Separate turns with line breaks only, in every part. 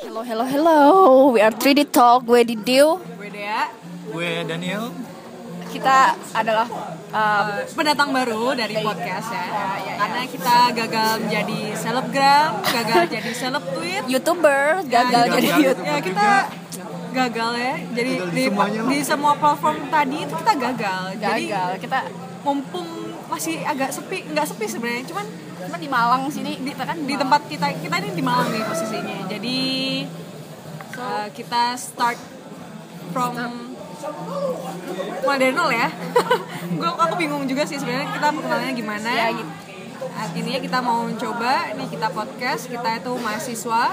Hello, hello, hello. We are 3D Talk. Gue Didio.
Gue Dea
Gue Daniel.
Kita adalah um,
Eh, pendatang baru dari podcast
Iya,
ya Karena kita gagal menjadi selebgram, gagal jadi seleb tweet
YouTuber, gagal
Ya,
jadi
gagal.
YouTube.
Ya kita gagal ya, jadi
Gagal di
di,
semuanya.
di semua platform tadi itu kita gagal Jadi
Gagal. Kita
mumpung masih agak sepi, nggak sepi sebenarnya cuman
cuma di Malang sini.
di,
Kita kan
di
Malang.
tempat kita, kita ini di Malang nih posisinya Jadi eh, kita start from mulai dari nol ya gue aku bingung juga sih sebenarnya kita mau kenalnya gimana
Ya, gitu.
Nah, Intinya kita mau mencoba nih kita podcast, kita itu mahasiswa,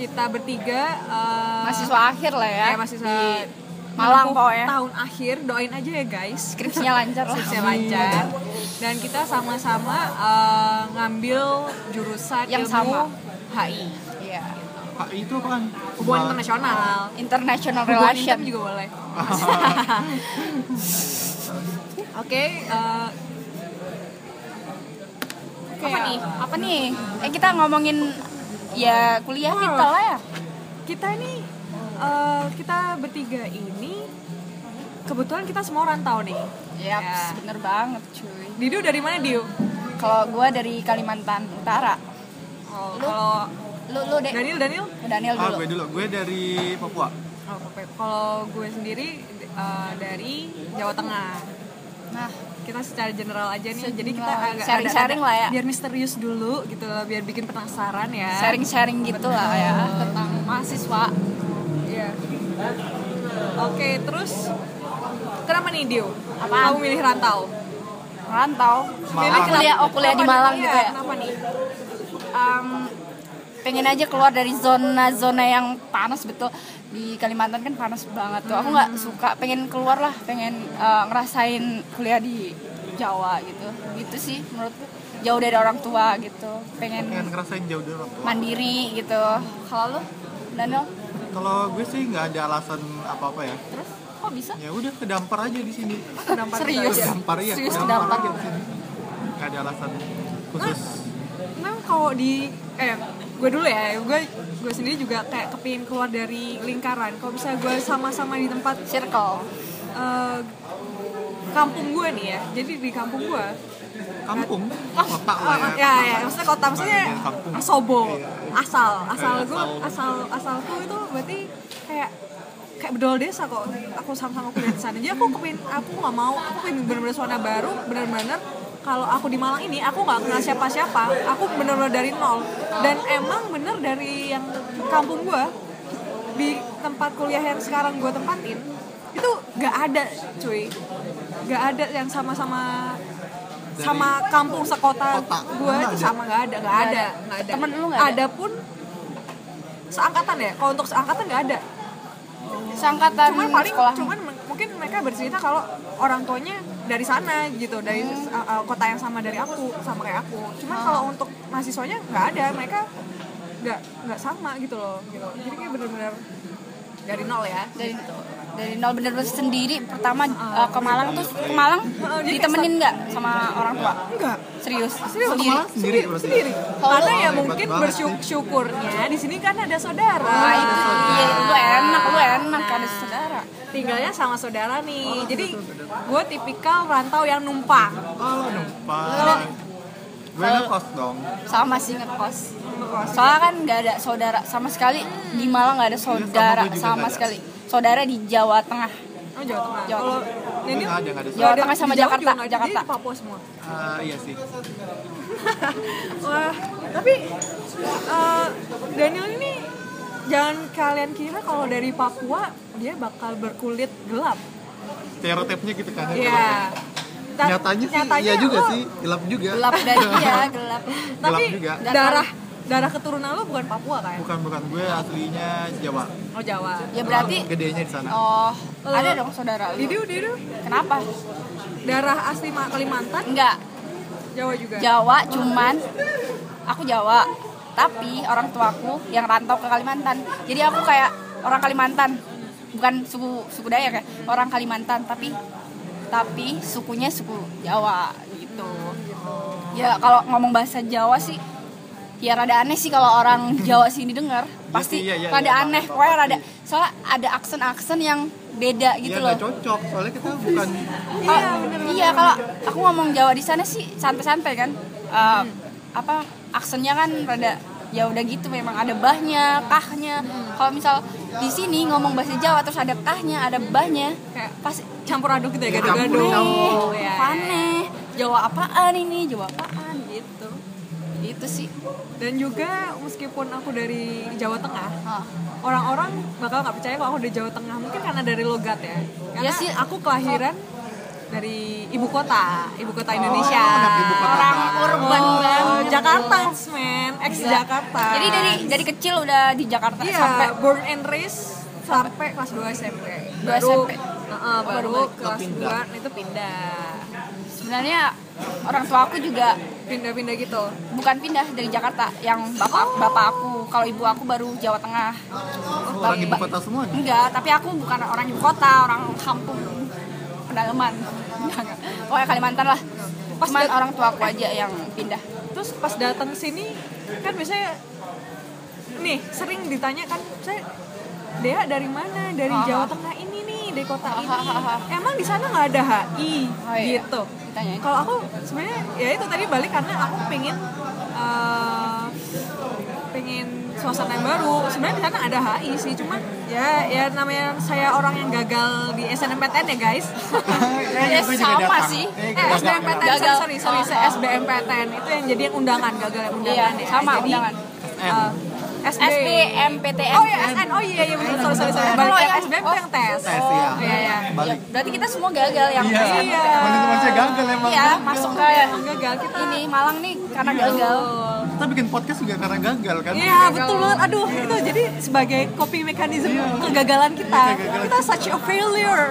kita bertiga eh,
mahasiswa akhir lah ya.
ya, mahasiswa
Malang
menempuh
pokoknya.
Tahun akhir, doain aja ya guys.
Skripsinya lancar lah.
Skripsinya lancar. Dan kita sama-sama eh, ngambil jurusan
Yang
ilmu
sama.
HI,
Iya.
Pak itu apaan?
hubungan
Malah.
internasional.
International
Hubungan
relation.
intern juga boleh. Oke, eh,
Apa nih? Apa nih? Eh kita ngomongin ya kuliah kita lah ya.
kita ini eh, kita bertiga ini kebetulan kita semua rantau nih. Ya.
Yaps, bener banget cuy.
Didu dari mana Diu?
Kalau gue dari Kalimantan Utara.
Oh,
Lu? Eh.
kalau
Lu lu deh.
Daniel Daniel,
Daniel
Ah,
dulu.
gue dulu. Gue dari Papua.
oh, oke. kalau gue sendiri eh, dari Jawa Tengah.
Nah,
Kita secara general aja nih,
Secara
jadi kita
general.
agak
Sharing-sharing lah ya.
biar misterius dulu gitu loh, biar bikin penasaran ya.
sharing-sharing gitu lah ya tentang mahasiswa.
Iya. Oke, terus kenapa nih Diu?
Apaan?
Kamu milih rantau?
Rantau.
Malang.
Ah, kuliah, oh kuliah di
Kenapa
Malang
nih?
gitu
Iya,
ya.
Kenapa nih?
Em, pengen aja keluar dari zona-zona yang panas betul di Kalimantan kan panas banget tuh. Aku nggak
Hmm.
suka, pengen keluar lah, pengen eh, ngerasain kuliah di Jawa gitu. Gitu sih menurutku jauh dari orang tua gitu.
Pengen
Pengen
ngerasain jauh dari orang tua.
mandiri gitu. Kalau lu Daniel,
Kalau gue sih nggak ada alasan apa-apa ya.
terus kok bisa?
Ya udah kedampar aja di sini.
Kenapa
Serius?
kita-
Kedampar ya.
Serius kedampar.
kedampar aja di sini. Nggak ada alasan khusus.
Memang Nah, kalau di eh gue dulu ya, gue gue sendiri juga kayak kepingin keluar dari lingkaran. Kalau bisa gue sama-sama di tempat
Circle.
eh, kampung gue nih ya. Jadi di kampung gue.
Kampung, kota
eh,
lah ya.
ya, ya, maksudnya kota maksudnya
Bukan kampung. Iya.
asobo, asal, asal
Eh,
gue, asal asalku itu berarti kayak kayak bedol desa kok aku sama-sama kuliah di sana jadi aku kepin aku nggak mau aku pengen bener-bener suasana baru bener-bener kalau aku di Malang ini aku nggak kenal siapa-siapa aku bener-bener dari nol dan emang bener dari yang kampung gua di tempat kuliah yang sekarang gua tempatin itu nggak ada cuy nggak ada yang sama-sama sama kampung sekota
Kota.
gua
Nggak
itu
ada.
sama nggak ada nggak
Nggak
ada
ada.
nggak ada
Temen lu nggak ada?
ada pun seangkatan ya kalau untuk seangkatan nggak ada
Sangkatan
cuman paling
sekolah.
cuman m- mungkin mereka bercerita kalau orang tuanya dari sana gitu dari uh, uh, kota yang sama dari aku sama kayak aku cuman kalau untuk mahasiswanya nggak ada mereka nggak nggak sama gitu loh gitu jadi kayak bener-bener dari nol ya
dari dari nol bener-bener sendiri pertama eh, ke Malang terus ke Malang ditemenin nggak sama orang tua
enggak
serius
serius
sendiri
Malang sendiri berarti?
sendiri karena ya
hebat
mungkin
banget
bersyukurnya di sini kan ada saudara Nah,
Wah, itu
Ah.
iya lu enak lu enak ada saudara
tinggalnya sama saudara nih jadi gue tipikal rantau yang numpang
Oh, numpang. Gue ngekos dong.
sama sih ngekos soalnya kan nggak ada saudara sama sekali di Malang nggak ada saudara
gue juga
sama
nggak ada.
sekali saudara di Jawa Tengah
oh Jawa Tengah
Jawa.
kalau ini
Nggak ada, nggak ada.
Jawa Tengah sama
di Jawa juga
Jakarta,
nggak ada,
Jakarta.
jadi Papua semua
Ah, iya sih.
wah tapi eh, Daniel ini jangan kalian kira kalau dari Papua dia bakal berkulit gelap
Stereotipnya gitu kan.
ya Ta-
Nyatanya sih iya juga
lo-
sih, gelap juga.
gelap dari dia gelap
tapi
Gelap juga.
darah darah keturunan lo bukan Papua kan
Bukan bukan gue aslinya Jawa.
oh Jawa
ya berarti
Gedenya di sana.
oh ada dong saudara lu
Didu, Didu,
kenapa
darah asli Ma- Kalimantan,
enggak
Jawa juga.
Jawa cuman aku Jawa tapi orang tuaku yang rantau ke Kalimantan jadi aku kayak orang Kalimantan bukan suku suku Dayak ya orang Kalimantan tapi tapi sukunya suku Jawa gitu ya kalau ngomong bahasa Jawa sih ya rada aneh sih kalau orang Jawa sini dengar pasti
iya, iya,
rada
iya,
aneh
apa-apa.
pokoknya rada soalnya ada aksen-aksen yang beda gitu
Iya
loh
nggak cocok, soalnya kita bukan
Oh, iya kalau aku ngomong Jawa di sana sih santai-santai kan. Eh, apa aksennya kan rada ya udah gitu memang ada bahnya, kahnya. Kalau misal di sini ngomong bahasa Jawa terus ada kahnya, ada bahnya,
Kayak
pas
campur aduk gitu ya
Campur,
gado-gado
"Eh,
ya, ya.
aneh. Jawa apaan ini? Jawa apaan gitu. Itu sih.
dan juga meskipun aku dari Jawa Tengah
Ah.
orang-orang bakal nggak percaya kalau aku dari Jawa Tengah mungkin karena dari logat ya karena
Ya sih.
aku kelahiran dari ibu kota ibu kota Indonesia
anak ibu kota
Orang
banget.
urban
Oh,
banget.
Jakarta man ex Jakarta
Jadi dari dari kecil udah di Jakarta
Iya,
sampai
born and raised sampai kelas 2 SMP.
Dua
Baru,
SMP.
Heeh, baru kelas 2 itu pindah.
sebenarnya orang tua aku juga
Pindah-pindah gitu.
bukan pindah dari Jakarta yang bapak bapak aku kalau ibu aku baru Jawa Tengah
orang ibu kota semua. nih.
enggak tapi aku bukan orang ibu kota orang kampung pedalaman Enggak, enggak. pokoknya Kalimantan lah cuman
dat-
orang tua aku aja yang pindah
Terus pas datang sini kan biasanya nih sering ditanya kan saya Dea dari mana? Dari
Ah.
Jawa Tengah ini nih, dari kota ini.
Ah, ah, ah.
Emang di sana nggak ada HI
Oh, iya.
gitu.
Ditanyain.
Kalau aku sebenarnya ya itu tadi balik karena aku pengen eh, pengen suasana yang baru. Sebenarnya di sana ada HI sih, cuman ya ya namanya saya orang yang gagal di SNMPTN ya guys.
Ya,
gue juga
sama
datang.
sih.
Eh,
Eh,
gue datang.
SBMPTN,
Gagal.
sorry, sorry, sorry, SBMPTN itu yang jadi yang undangan, gagal yang undangan
Iya,
ya.
sama
Jadi,
undangan.
eh, SB.
SBMPTN
Oh iya, SN, oh iya, iya benar, sorry, sorry, sorry. Balik
Kalau
yang
yang-
SBM
oh.
itu yang tes.
Tes ya.
Oh, iya, iya.
Ya,
Balik.
berarti kita semua gagal yang
Iya.
Iya.
Mana teman-teman gagal emang.
Iya, masuk ke
Emang gagal kita.
ini Malang nih karena gagal
Kita bikin podcast juga karena gagal Iya. kan.
Iya, betul banget. Aduh, itu jadi sebagai coping mechanism kegagalan kita.
Iya, kegagalan.
Kita such a failure.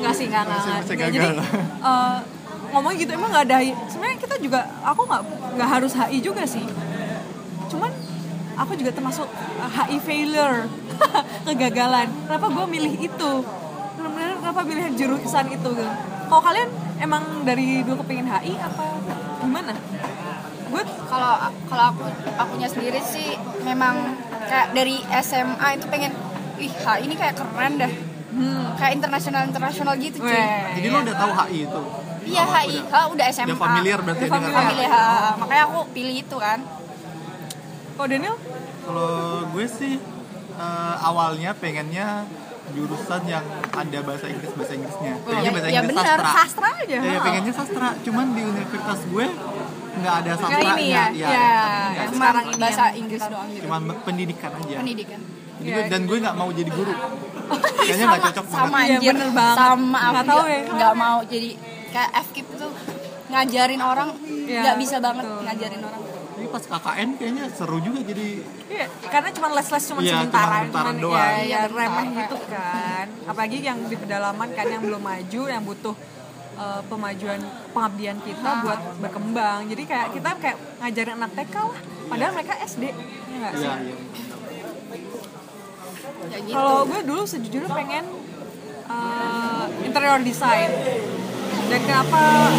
Enggak sih, enggak, enggak.
Masih- masih
Nggak,
gagal.
Jadi, eh, ngomong gitu emang nggak ada HI. Sebenarnya kita juga, aku nggak nggak harus HI juga sih. Cuman, aku juga termasuk eh, HI failure. kegagalan. Kenapa gue milih itu? Benar-benar kenapa pilihan jurusan itu? gitu. Kalau kalian emang dari dulu kepingin HI apa gimana? Gue
kalau kalau aku akunya sendiri sih memang kayak dari SMA itu pengen ih HI ini kayak keren dah
Hmm.
kayak internasional internasional gitu cuy
Jadi lo udah tahu HI itu.
iya
Awal
HI
udah.
HI udah SMA
Udah familiar berarti
Udah
dengan
familiar.
HI.
Milih HI. makanya aku pilih itu kan
Kalau Daniel?
Kalau gue sih eh, awalnya pengennya jurusan yang ada bahasa Inggris bahasa Inggrisnya. Pengennya
ya-
bahasa
ya
Inggris
benar,
sastra.
sastra aja.
Iya,
ha.
pengennya sastra. Cuman di universitas gue nggak ada sastra.
ini ya,
iya.
ya, yang
Cuma
sekarang ini
iya. bahasa
yang-
Inggris doang gitu
Cuman pendidikan aja.
pendidikan
Jadi gue-
Iya.
dan gue nggak mau jadi guru. Kayaknya nggak cocok
sama
banget.
Iya,
anjir
bener banget.
sama aku
Nggak tahu
juga
ya.
nggak mau jadi kayak FKIP tuh ngajarin orang
Iya,
nggak bisa banget
betul.
ngajarin orang
Tapi pas KKN kayaknya seru juga jadi
Iya, karena cuma les-les cuma
Iya,
sementara,
cuma sementara doang.
ya,
Iya,
ya, remeh
sementara.
gitu kan. Apalagi yang di pedalaman kan yang belum maju, yang butuh eh, pemajuan pengabdian kita
Ah.
buat berkembang. Jadi kayak kita kayak ngajarin anak TK lah, padahal mereka SD. Iya nggak sih?
Iya, iya.
ya gitu
Kalau gue dulu sejujurnya pengen eh, interior design. Dan kenapa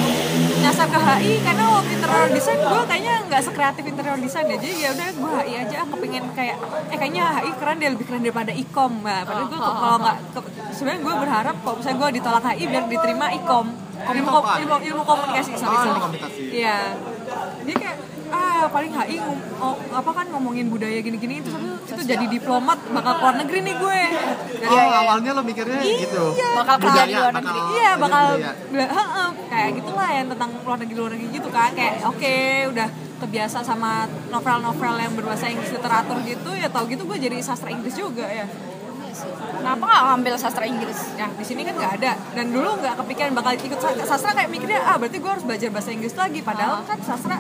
nyasar ke HI? Karena waktu interior design gue kayaknya nggak sekreatif interior design ya. Jadi ya udah gue HI aja. Aku pengen kayak eh kayaknya HI keren deh lebih keren daripada ikom. Nah, padahal gue ke- kalau nggak ke- sebenarnya gue berharap kalau misalnya gue ditolak HI biar diterima ikom. Ilmu,
Ikom apaan?
ilmu, ilmu komunikasi sorry,
Oh,
sorry.
ilmu komunikasi.
Iya. Dia kayak ah paling HI ngom- oh, apa kan ngomongin budaya gini-gini itu itu jadi diplomat bakal keluar negeri nih gue.
Oh, awalnya lo mikirnya gitu.
Iya, Bakal kerja
Budaya,
di luar
bakal-
negeri.
Iya bakal
budaya.
bila- heeh, kayak gitulah yang tentang luar negeri luar negeri gitu kan kayak oke udah terbiasa sama novel-novel yang berbahasa Inggris literatur gitu ya tau gitu gue jadi sastra Inggris juga ya.
kenapa nggak ngambil sastra Inggris
Nah di sini kan nggak ada dan dulu nggak kepikiran bakal ikut sa- sastra kayak mikirnya ah berarti gue harus belajar bahasa Inggris lagi padahal kan sastra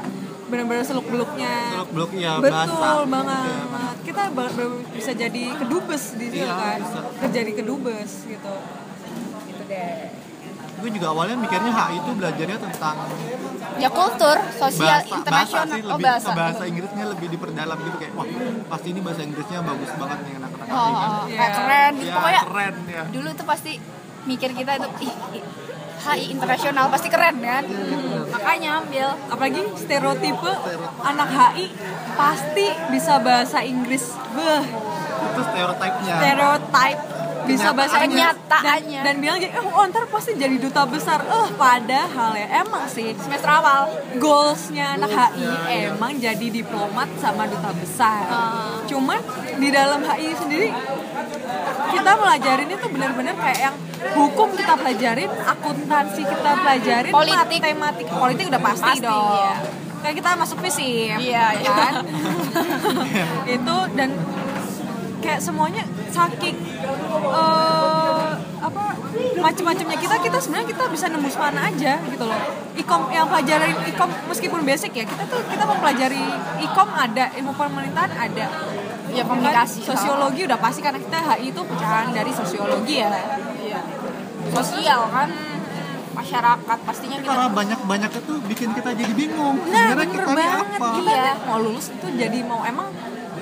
benar-benar seluk beluknya
Blok-blok ya
Betul
bahasa.
banget. Kita ba- ba- bisa jadi kedubes di sini
Iya,
kan.
bisa.
Kerja di kedubes gitu. Gitu deh.
Gue juga awalnya mikirnya HI itu belajarnya tentang
ya kultur sosial
bahasa, bahasa
internasional
sih
oh
lebih
bahasa
ke bahasa Inggrisnya lebih diperdalam gitu kayak wah pasti ini bahasa Inggrisnya bagus banget nih anak-anak
Oh,
HI kan.
kayak keren gitu
Ya,
pokoknya
keren ya.
dulu tuh pasti mikir kita itu ih, ih, HI internasional pasti keren kan makanya ambil
apalagi
Iya,
stereotipe anak HI pasti bisa bahasa Inggris beh
itu stereotipnya
stereotype bisa bahasa
Kenyataannya.
Inggris dan,
Kenyataannya.
Iya. dan bilang jadi eh oh, ntar pasti jadi duta besar eh padahal ya emang sih semester awal goalsnya anak HI
ya,
emang jadi diplomat sama duta besar
Ah.
cuman di dalam HI sendiri kita pelajarin itu benar-benar kayak yang hukum kita pelajarin akuntansi kita pelajarin
Politik.
matematik politik udah pasti,
Pasti,
dong
iya.
kayak kita masuk fisip
Iya, iya.
kan itu dan kayak semuanya saking eh, apa macam-macamnya kita kita sebenarnya kita bisa nembus mana aja gitu loh ikom yang pelajarin ikom meskipun basic ya kita tuh kita mempelajari ikom ada ilmu pemerintahan ada
ya
Kan
komunikasi
sosiologi udah pasti karena kita HI itu pecahan dari sosiologi
Nah,
ya
Iya. sosial kan masyarakat pastinya kita
karena banyak banyak itu bikin kita jadi bingung
Nah,
sebenarnya
bener
kita ini
banget.
apa
Kita
Iya.
mau lulus itu jadi mau emang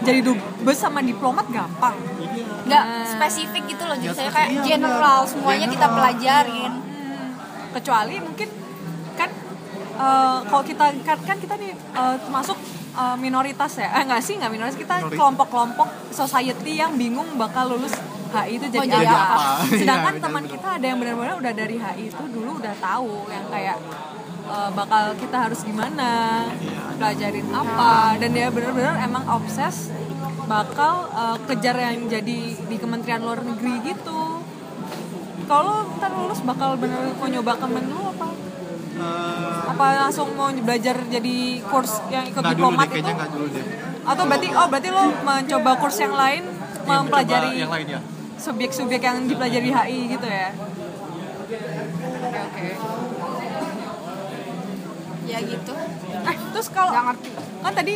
jadi dubes sama diplomat gampang.
Iya.
nggak spesifik gitu loh jadi
Nggak
saya kayak
spesifik, iya,
general
benar.
semuanya kita
General.
pelajarin
Kecuali mungkin kan eh, kalau kita kan, kan kita nih eh, termasuk eh, minoritas ya. Eh enggak sih, enggak minoritas. Kita
Minoritas.
kelompok-kelompok society yang bingung bakal lulus HI itu Oh, jadi,
jadi
apa.
apa?
Sedangkan
Iya,
teman
benar-benar.
kita ada yang benar-benar udah dari HI itu dulu udah tahu yang kayak eh, bakal kita harus gimana,
Iya.
pelajarin apa dan dia benar-benar emang obses bakal eh, kejar yang jadi di Kementerian Luar Negeri gitu. Kalau lo ntar lulus bakal bener mau nyoba kemen lu apa?
Eh,
Apa langsung mau belajar jadi course yang ikut
nggak dulu
diplomat
deh kayaknya
itu?
nggak dulu deh
Atau berarti oh berarti lo mencoba course yang lain
Iya,
mempelajari
coba yang lain ya
subjek-subjek yang dipelajari HI gitu ya? Oke oke.
ya gitu
Eh terus kalau
nggak ngerti
kan tadi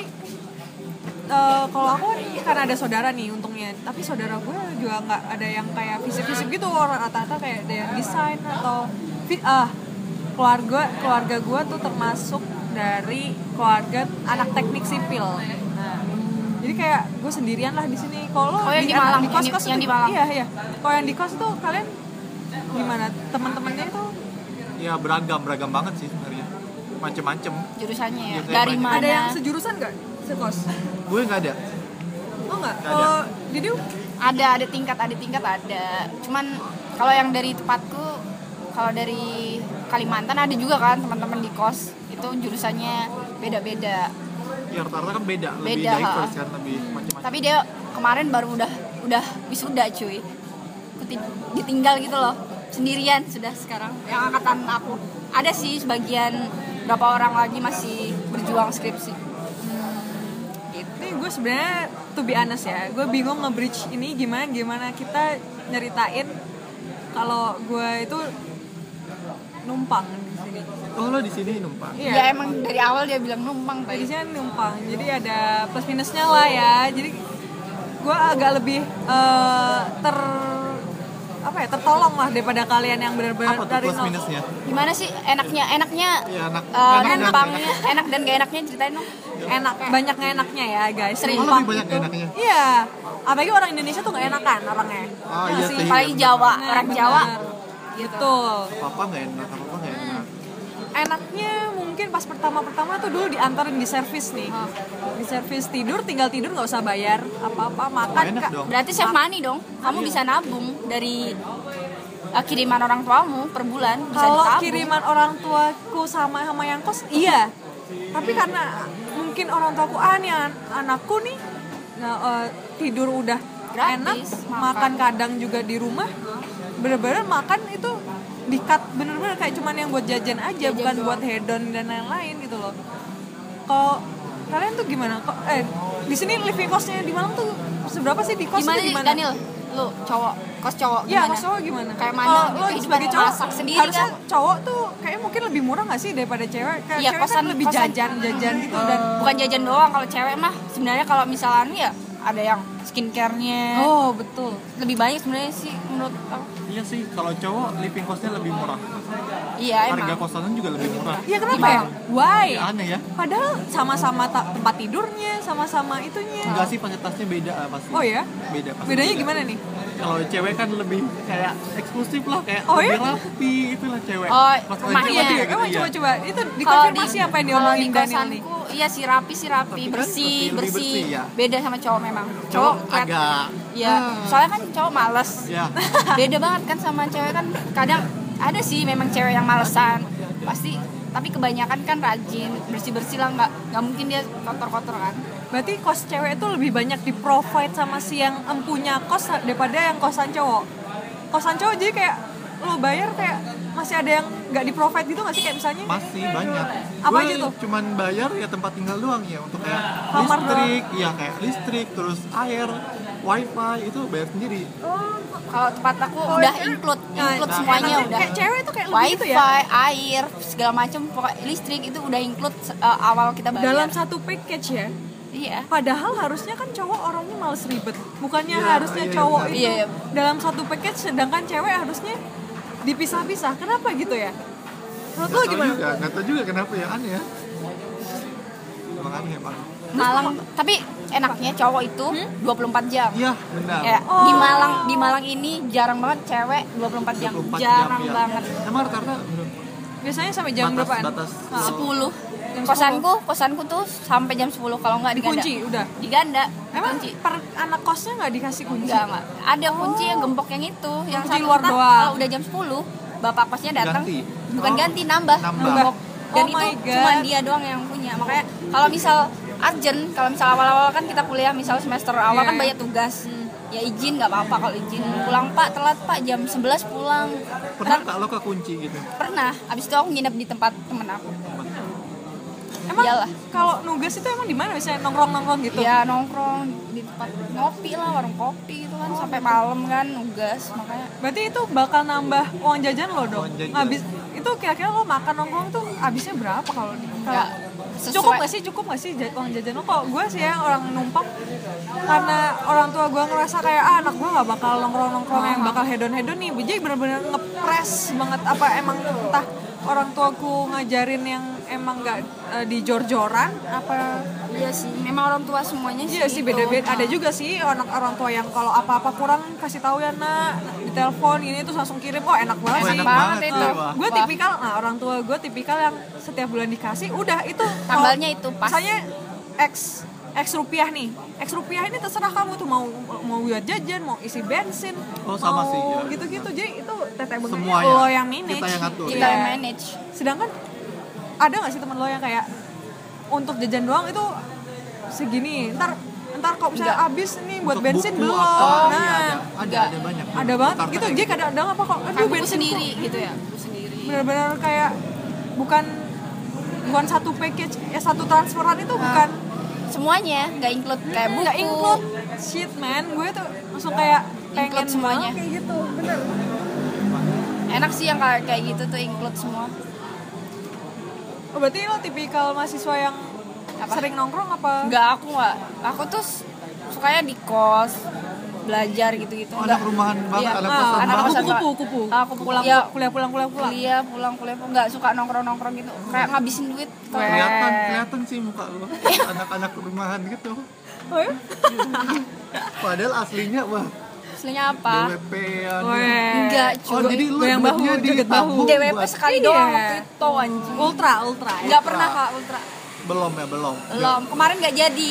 eh, kalau aku kan karena ada saudara nih untungnya tapi saudara gue juga nggak ada yang kayak fisip-fisip gitu orang rata-rata kayak ada yang desain atau fi- ah keluarga keluarga gue tuh termasuk dari keluarga anak teknik sipil nah, jadi kayak gue sendirian lah di sini kalau
Oh, yang di Malang, yang di- yang di Malang.
iya iya kalau yang di kos tuh kalian gimana teman-temannya tuh
ya beragam beragam banget sih sebenarnya macem-macem
jurusannya ya
Iya, saya
dari
banyak.
mana
ada yang sejurusan gak sekos
gue nggak ada
oh nggak
Nggak ada.
kalau Didu
ada ada tingkat ada tingkat ada cuman kalau yang dari tempatku kalau dari Kalimantan ada juga kan teman-teman di kos itu jurusannya beda-beda
ya rata-rata kan beda, lebih
Beda,
diverse
ha.
kan lebih macem-macem
tapi dia kemarin baru udah udah wisuda cuy Keti- ditinggal gitu loh sendirian sudah sekarang yang angkatan aku ada sih sebagian berapa orang lagi masih berjuang skripsi
Ini gue sebenarnya to be honest ya, gue bingung nge-bridge ini gimana gimana kita nyeritain kalau gue itu numpang di sini.
oh lo di sini numpang
ya emang dari awal dia bilang numpang tadi
Jadi saya numpang, jadi ada plus minusnya lah ya. Jadi gue agak lebih eh, ter apa ya tertolong lah daripada kalian yang benar-benar
apa tuh
dari
plus
nol.
minusnya
gimana sih enaknya enaknya
Iya, enak-
eh,
enak dan-
numpangnya enak dan gak enaknya ceritain dong
enak banyak nggak enaknya ya guys
Sering.
Numpang
Oh, lebih banyak
itu-
nggak enaknya?
iya apalagi orang Indonesia tuh nggak enakan orangnya Ya
oh iya sih
apalagi Jawa orang Jawa
gitu
apa nggak enak apa nggak enak
enaknya mungkin pas pertama-pertama tuh dulu diantarin di servis nih di servis tidur tinggal tidur nggak usah bayar apa-apa makan
Oh, enak
Kak.
dong.
berarti chef money dong kamu
Iya.
bisa nabung dari eh, kiriman orang tuamu per bulan bisa
kalau
ditabung.
kiriman orang tuaku sama sama yang kos iya tapi karena mungkin orang tuaku ah nih an- anakku nih nah, eh, tidur udah
Gratis,
enak makan.
makan.
kadang juga di rumah bener-bener makan itu dikat bener-bener kayak cuman yang buat jajan aja
Jajan
bukan
doang.
buat hedon dan lain-lain gitu loh kalau kalian tuh gimana kok eh di sini living costnya di Malang tuh seberapa sih di kos
gimana
tuh
sih
gimana?
Daniel lu cowok kos cowok
Iya,
gimana
mas cowok gimana?
Kayak mana
Kalau
gitu,
lo
kehidupan
sebagai cowok
masak sendiri
harusnya
kan?
cowok tuh kayaknya mungkin lebih murah gak sih daripada cewek? Kayak
Iya,
cewek
kosan-
kan lebih
kosan. Hmm.
jajan-jajan gitu dan
bukan jajan doang kalau cewek mah sebenarnya kalau misalnya ya ada yang skincare-nya
Oh, betul.
lebih banyak sebenarnya sih menurut aku
Hmm.
iya Iya sih, kalau cowok living cost-nya lebih murah.
Iya
Harga
emang.
kosannya juga lebih murah.
Iya kenapa ya? Why?
Ya, aneh ya.
Padahal sama-sama ta- tempat tidurnya, sama-sama itunya.
Enggak sih pakai tasnya beda lah pasti.
Oh ya?
Beda pasti.
Bedanya
beda.
gimana nih?
Nah,
Kalau cewek kan lebih kayak eksklusif lah, kayak
Oh
lebih
ya?
rapi itulah cewek.
Oh,
Pas kalau
rumahnya.
cewek
Iya,
juga gitu,
emang
iya.
coba-coba. Itu
Kalau di-
dikonfirmasi apa yang
kalau
diomongin
di
Daniel nih?
kosanku, iya sih rapi sih rapi,
Tapi kan
bersih,
lebih- lebih
bersih,
bersih, ya.
Beda sama cowok memang.
Cowok
kayak-
agak
Iya,
Hmm.
soalnya kan cowok males.
ya
Beda banget kan sama cewek kan kadang ada sih memang cewek yang malesan. Pasti tapi kebanyakan kan rajin, bersih-bersih lah nggak nggak mungkin dia kotor-kotor kan.
Berarti kos cewek itu lebih banyak di provide sama si yang empunya kos daripada yang kosan cowok. Kosan cowok jadi kayak lo bayar kayak masih ada yang nggak di provide gitu nggak sih kayak misalnya
masih banyak.
Apa
Gua
aja tuh?
Cuman bayar ya tempat tinggal doang ya untuk kayak
Kamar
listrik, iya kayak listrik, terus air, wifi itu bayar sendiri.
Oh,
Kalau tempat aku udah include, include
Nah,
semuanya
kayak-
udah.
kayak cewek itu kayak lebih gitu
Wifi,
ya
air, segala macam, pokoknya listrik itu udah include eh, awal kita bayar.
dalam satu package ya
iya.
padahal harusnya kan cowok orangnya males ribet bukannya
Iya,
harusnya
iya,
cowok
benar.
itu
Iya, iya.
dalam satu package sedangkan cewek harusnya dipisah-pisah kenapa gitu ya menurut lo
Nggak tahu
gimana
juga, nggak tahu juga kenapa ya aneh ya. Emang aneh ya, emang.
Malang, tapi enaknya cowok itu
Hmm?
24 jam.
Iya benar.
Ya, di
Oh.
Malang di Malang ini jarang banget cewek 24 jam.
24
jarang
jam, ya.
banget.
Emang rata-rata
biasanya sampai jam
Batas-
berapaan
batas.
Ah,
10.
Jam
Kosanku, kosanku tuh sampai jam 10 kalau nggak diganda.
dikunci udah
Diganda.
Emang
kunci.
per anak kosnya nggak dikasih kunci?
Enggak, enggak. Ada kunci yang gembok yang itu, yang
Kunci
satu
Oh. luar
ntar
doang.
Kalau udah jam 10, bapak kosnya datang.
Ganti. Oh.
Bukan ganti, nambah.
Nambah.
gembok. Dan
Oh
itu
my God.
cuma dia doang yang punya. Makanya kalau misal urgent, kalau misal awal-awal kan kita kuliah misal semester awal
Iya,
kan
iya.
banyak tugas. Ya izin nggak apa-apa kalau izin pulang Pak, telat Pak, jam 11 pulang.
pernah
Ntar-
nggak lo kekunci gitu?
pernah. Abis itu aku nginep di tempat temen aku.
Emang
Iyalah.
kalau nugas itu emang di mana biasanya nongkrong-nongkrong gitu?
Ya nongkrong di tempat ngopi lah, warung kopi itu kan sampai malam kan nugas makanya
Berarti itu bakal nambah uang jajan lo dong.
Uang jajan.
Habis itu kira-kira lo makan nongkrong tuh habisnya berapa kalau di?
nggak
Ya, Cukup
sesuai-
gak sih? Cukup gak sih ja- uang jajan lo? Kalau gue sih ya orang numpang karena orang tua gue ngerasa kayak ah, anak gue gak bakal nongkrong-nongkrong yang bakal hedon-hedon nih. Jadi bener-bener ngepres banget apa emang entah orang tuaku ngajarin yang emang gak eh, di jor-joran apa
Iya sih, memang orang tua semuanya sih.
Iya sih
gitu.
beda-beda. Ada
Nah,
juga sih orang orang tua yang kalau apa-apa kurang kasih tahu ya nak, ditelepon ini terus langsung kirim. Oh enak banget.
Enak,
Enak
banget,
banget
itu.
tuh, wah.
Gue
Wah,
tipikal, nah orang tua gue tipikal yang setiap bulan dikasih, udah itu.
Tambalnya
Kalau
itu pas.
Misalnya X X rupiah nih, X rupiah ini terserah kamu tuh mau mau buat jajan, mau isi bensin,
Oh,
mau
sama sih, iya.
gitu-gitu. Jadi itu teteh bengeknya
Semuanya.
lo yang manage.
Kita yang ngatur.
Kita
Iya.
yang manage.
Sedangkan ada nggak sih teman lo yang kayak untuk jajan doang itu segini, ntar ntar kalau misalnya habis nih buat
Untuk
bensin
buku
belum,
apa, iya,
nah
ada, ada,
Nggak.
ada banyak. Oh,
ada banget
Rata-rata
gitu.
kayak
Jadi kadang-kadang apa kok,
Kan
aduh
buku
bensin
sendiri gitu ya, buku sendiri.
benar-benar kayak bukan bukan satu package ya satu transferan
Nah,
itu bukan
Semuanya nggak include kayak buku.
nggak include shit man gue tuh langsung kayak pengen
Include semuanya.
banget kayak gitu bener
Enak sih yang kayak kayak gitu tuh include semua.
oh, berarti lo tipikal mahasiswa yang
Apa?
sering nongkrong apa
Nggak aku nggak. Aku tuh s- sukanya di kos belajar gitu-gitu.
Oh,
Nggak-
anak rumahan banget,
Iya.
anak
Ah,
kosan
anak
banget.
kosan.
kupu-kupu kupu
Ah, kupu.
pulang
Iya.
kuliah pulang kuliah pulang
kuliah pulang kuliah pulang nggak suka nongkrong nongkrong gitu kayak ngabisin duit
Kelihatan, kelihatan sih muka lo. Anak-anak rumahan gitu.
oh, ya?
Padahal aslinya wah
aslinya apa
DWP an
Weh.
Enggak,
ya, Oh,
cuy.
jadi lu
Goyang bahu,
duitnya
joget bahu.
ditabung
DWP
buat-
sekali
Iya.
doang waktu itu anjing
ultra ultra ya.
nggak pernah kak ultra
Belum ya, belum.
belum kemarin nggak jadi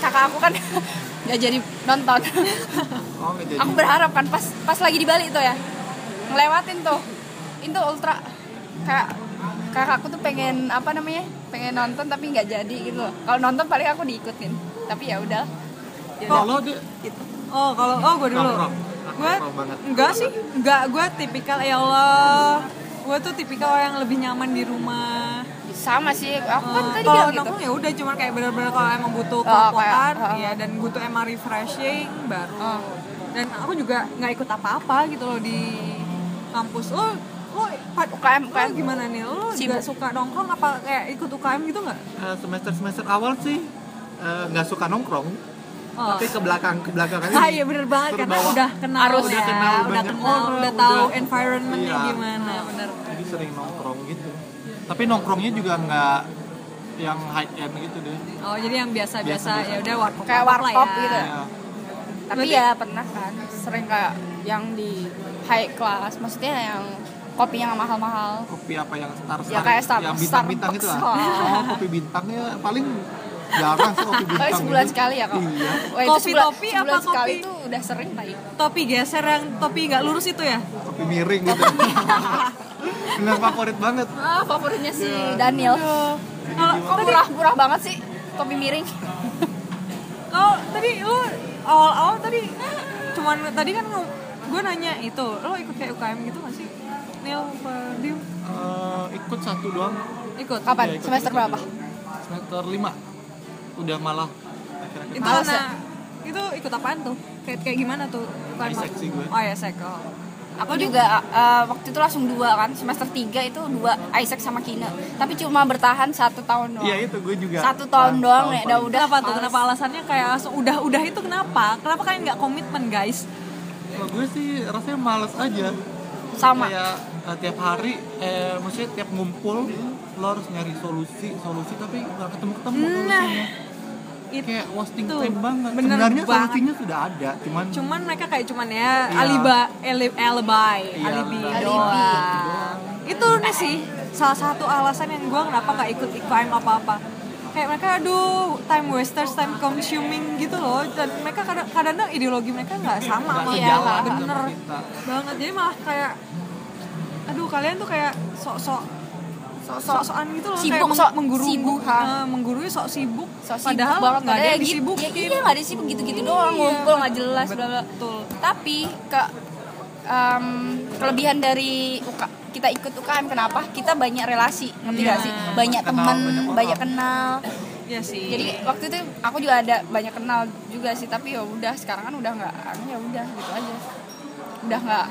kakak aku kan nggak jadi nonton
Oh, nggak jadi.
aku berharap kan pas pas lagi di Bali tuh ya ngelewatin tuh itu ultra kayak kakakku tuh pengen apa namanya pengen nonton tapi nggak jadi gitu loh. kalau nonton paling aku diikutin tapi ya udah
Kalau dia
Oh kalau oh gue dulu.
Nongkrong. Ah,
Gue
Nongkrong banget.
enggak sih, enggak gue tipikal ya Allah. Gue tuh tipikal orang yang lebih nyaman di rumah.
sama sih aku kan
Eh,
tadi
kalau
bilang gitu
nongkrong ya udah cuman kayak bener-bener kalau emang butuh
kayak,
kelopotan
oh.
ya dan butuh emang refreshing baru.
Oh.
Dan aku juga nggak ikut apa-apa gitu loh di kampus. Lo lo pad-
UKM,
lo
UKM.
gimana nih? Lo juga
Sibuk.
suka nongkrong apa kayak ikut UKM gitu nggak?
eh, semester-semester awal sih eh, nggak suka nongkrong.
Oh.
tapi ke belakang ke belakang
Ah iya bener banget karena
terbawa.
udah kenal
Harus
udah
ya,
kenal,
udah
udah
banyak
kenal,
orang,
udah tahu
udah-
environmentnya
Iya.
gimana, bener.
jadi sering nongkrong gitu tapi nongkrongnya juga nggak yang high end gitu deh
Oh jadi yang biasa-biasa
Biasa-biasa.
ya udah warkop
Kayak
warkop lah
warkop
ya.
gitu.
Kayak
tapi
Berarti-
ya pernah kan sering kayak yang di high class maksudnya yang kopi yang mahal-mahal
kopi apa yang star
Ya,
star
kayak Star-
yang bintang bintang gitu lah
Starbucks lah.
oh, kopi bintangnya paling jarang sih kopi bintang
Paling Oh, sebulan
gitu.
sekali ya kok.
iya
Wah, itu
Kopi
sebulan-
topi apa
sebulan sekali
kopi?
itu udah sering tadi.
Topi geser yang topi nggak lurus itu ya?
kopi miring gitu bener favorit banget
Ah, favoritnya si
Iya.
Daniel.
Kalau
Iya. Kok murah-murah banget sih kopi miring?
Kalau tadi lu awal-awal tadi cuman tadi kan gue nanya itu, lo ikut kayak UKM gitu gak sih? Nil, apa Dim?
Eh, ikut satu doang
ikut.
Kapan?
Iya, ikut
Semester
satu
berapa?
doang. semester lima udah malah akhir-akhir
Itu
Males
karena itu ikut apaan tuh? Kayak kayak gimana tuh? UKM?
Isek sih E gue.
Oh ya sek. Oh.
Aku juga eh, waktu itu langsung dua kan, semester tiga itu dua Isaac sama Kina. Tapi cuma bertahan satu tahun doang.
iya itu gue juga
Satu tahun
Tahun
doang ya,
paling-
udah udah
Kenapa tuh?
males.
Kenapa alasannya kayak langsung udah-udah itu kenapa? Kenapa kalian nggak komitmen guys?
Kalau gue sih rasanya males aja
Sama.
kayak eh, tiap hari eh maksudnya tiap ngumpul lo harus nyari solusi solusi tapi nggak ketemu ketemu
Nah, It-
kayak wasting
Tuh,
time banget
bener
sebenarnya
banget.
solusinya sudah ada cuman
cuman mereka kayak cuman ya
Iya.
aliba eli- alibi
Iya,
alibi
alibi.
doang itu nih sih salah satu alasan yang gue kenapa nggak ikut IKM apa apa kayak mereka aduh time wasters time consuming gitu loh dan mereka kadang- kadang-kadang ideologi mereka nggak sama
nggak
sama
Iya,
sejalan
kita. bener
sama kita
banget jadi malah kayak aduh kalian tuh kayak sok-sok sok-sokan gitu loh
Sibuk,
kayak
sok
menggurui
sibuk, ha.
menggurui sok sibuk
So sibuk
padahal
banget
nggak ada yang
gitu- Iya,
disibukin
Ya, iya nggak ada sibuk gitu-gitu doang ngumpul nggak jelas bla bla.
Betul.
Tapi ke em, kelebihan dari UK- kita ikut UKM kenapa? Kita banyak relasi, ngerti nggak
Iya.
sih? Banyak
Kenal
teman,
banyak orang.
banyak kenal.
Iya sih
Jadi waktu itu aku juga ada banyak kenal juga sih, tapi ya udah sekarang kan udah nggak, ya udah gitu aja. Udah nggak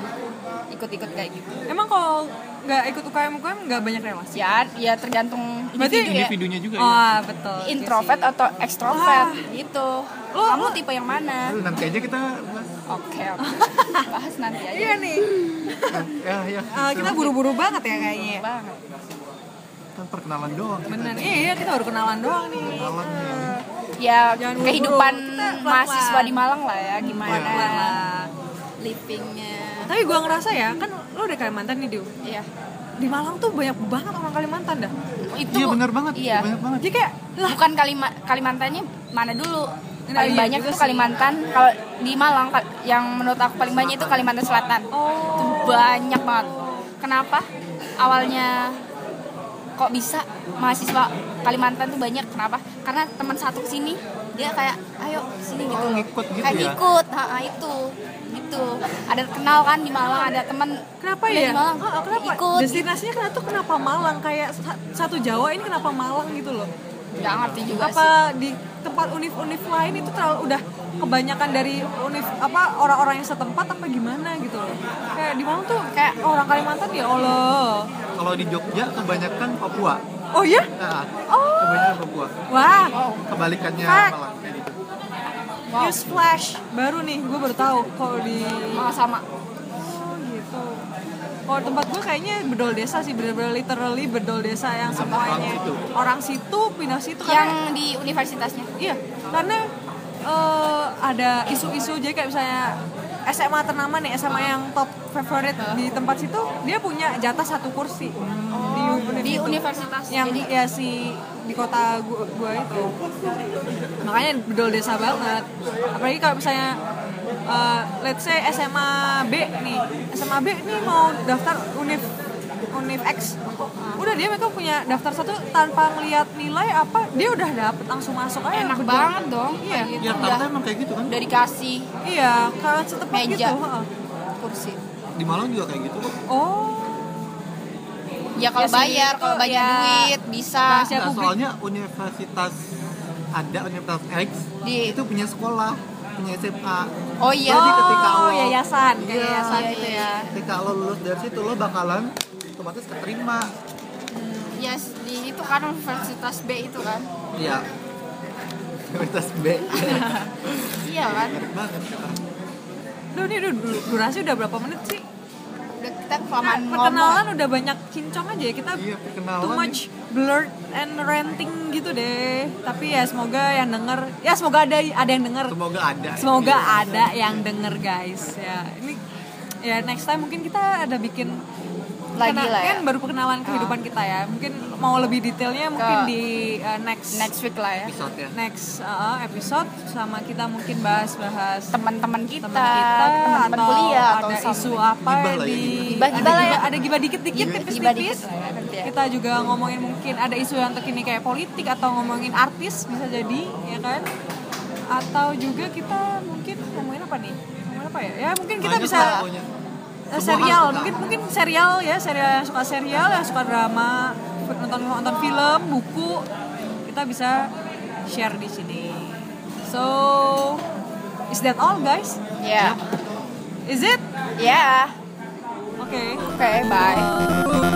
ikut-ikut kayak gitu.
Emang kalau nggak ikut UKM UKM nggak banyak relasi.
Ya, ya tergantung
Berarti
individu ya.
individunya juga ya
Oh betul.
introvert
Iya sih.
atau ekstrovert
Wah.
gitu.
Lo-
Kamu
lo-
tipe yang mana?
Aduh, nanti aja kita bahas.
Oke, oke. bahas nanti aja.
Iya nih.
ya ya
Eh, kita buru-buru banget ya kayaknya.
Banget.
kan perkenalan doang kita.
Bener. Iya kita baru kenalan doang nih.
Kenalan
iya.
ya.
Ya
Jangan buru-buru.
kehidupan
Kita pelan-pelan.
mahasiswa di Malang lah ya gimana
Wah.
livingnya.
Tapi gue ngerasa ya kan lo udah Kalimantan nih Diu.
Iya.
Di Malang tuh banyak banget orang Kalimantan dah.
Itu
iya benar banget
Iya.
banyak banget
Jadi kayak lah
Bukan Kalima- Kalimantannya mana dulu?
Nah,
Paling
iya
banyak
juga
itu
sih.
Kalimantan. Kalau di Malang kal- yang menurut aku paling banyak itu Kalimantan Selatan. Itu
Oh.
banyak banget. Kenapa? Awalnya kok bisa mahasiswa Kalimantan tuh banyak kenapa? Karena teman satu kesini dia kayak ayo sini gitu.
Oh,
loh.
ngikut gitu
kayak
ya?
ngikut, ha, ha, itu gitu. Ada kenal kan di Malang, ada teman
kenapa
kuliah
ya?
Di Malang,
Ah, ah, kenapa?
ikut.
Destinasinya kenapa tuh kenapa Malang kayak sa- satu Jawa ini kenapa Malang gitu loh?
Gak ngerti juga sih.
apa di tempat univ-univ lain itu terlalu udah kebanyakan dari univ apa orang-orang yang setempat apa gimana gitu loh kayak di Malang tuh kayak orang Kalimantan ya Allah
kalau di Jogja kebanyakan Papua
oh ya
nah,
Oh.
kebanyakan Papua
wah
kebalikannya
Fak.
malah kayak gitu
news flash baru nih gue baru tahu kalau di
Malah sama.
oh gitu kalau tempat gue kayaknya bedol desa sih bener-bener literally bedol desa yang semuanya
situ.
orang situ pindah situ
Yang
karena
di universitasnya.
Iya, karena eh, ada isu-isu jadi kayak misalnya SMA ternama nih, SMA yang top favorite di tempat situ dia punya jatah satu kursi di univ
Oh, Di
itu.
universitas.
yang
Jadi
ya si di kota gua, gua itu. Makanya bedol desa banget. Apalagi kalau misalnya eh, let's say SMA B nih, SMA B nih mau daftar univ univ X
Ah.
udah dia mereka punya daftar satu tanpa ngeliat nilai apa dia udah dapet langsung masuk aja
enak
bedol.
banget dong.
Iya.
Kayak gitu.
Jakarta
Udah,
emang kayak gitu kan
udah dikasih
Iya, kalau setempat
Meja.
gitu. heeh.
kursi.
di Malang juga kayak gitu kok
Oh,
Ya kalau
Ya sih,
bayar, kalau
itu,
banyak
ya.
duit bisa.
Rahasia
Nah,
publik.
soalnya universitas ada universitas X
Di-
itu punya sekolah, punya SMA.
Oh iya.
Jadi ketika
oh,
lo
yayasan, kayak
Iya.
yayasan
Iya,
gitu
iya.
ya.
ketika lo lulus dari situ lo bakalan otomatis keterima.
Yes, di itu kan universitas B itu kan.
Iya. Universitas B.
iya kan
Menarik banget.
Duh, ini udah du- durasi udah berapa menit sih?
udah kita
Nah,
kelamaan ngomong
perkenalan udah banyak kincong aja ya kita
Iya, perkenalan.
too much blurred and ranting gitu deh. Tapi ya semoga yang denger, ya semoga ada ada yang denger.
Semoga ada. Iya.
Semoga ada yang denger guys. Ya, ini ya next time mungkin kita ada bikin
Lagi
kena-
lah ya.
Kan baru perkenalan kehidupan kita ya. Mungkin mau lebih detailnya mungkin di uh, next
next week lah ya
episode ya.
next uh, episode sama kita mungkin bahas-bahas
teman-teman kita
teman kita
teman-teman
atau
kuliah atau
ada
something.
isu apa
Gibah
ya
lah ya,
di
gibah.
ada
Gibah lah ya.
gibah- ada gibah dikit-dikit
Gibah-
gibah
tipis-tipis
dikit lah ya, nanti ya.
kita juga ngomongin mungkin ada isu yang terkini kayak politik atau ngomongin artis bisa jadi ya kan atau juga kita mungkin ngomongin apa nih ngomongin apa ya ya mungkin kita
Banyak
bisa
lah pokoknya.
eh,
Semua
serial
harus
mungkin mungkin serial ya serial yang suka serial yang suka drama nonton nonton film buku kita bisa share di sini so is that all guys
ya
is it
ya
okay
oke bye
Bye.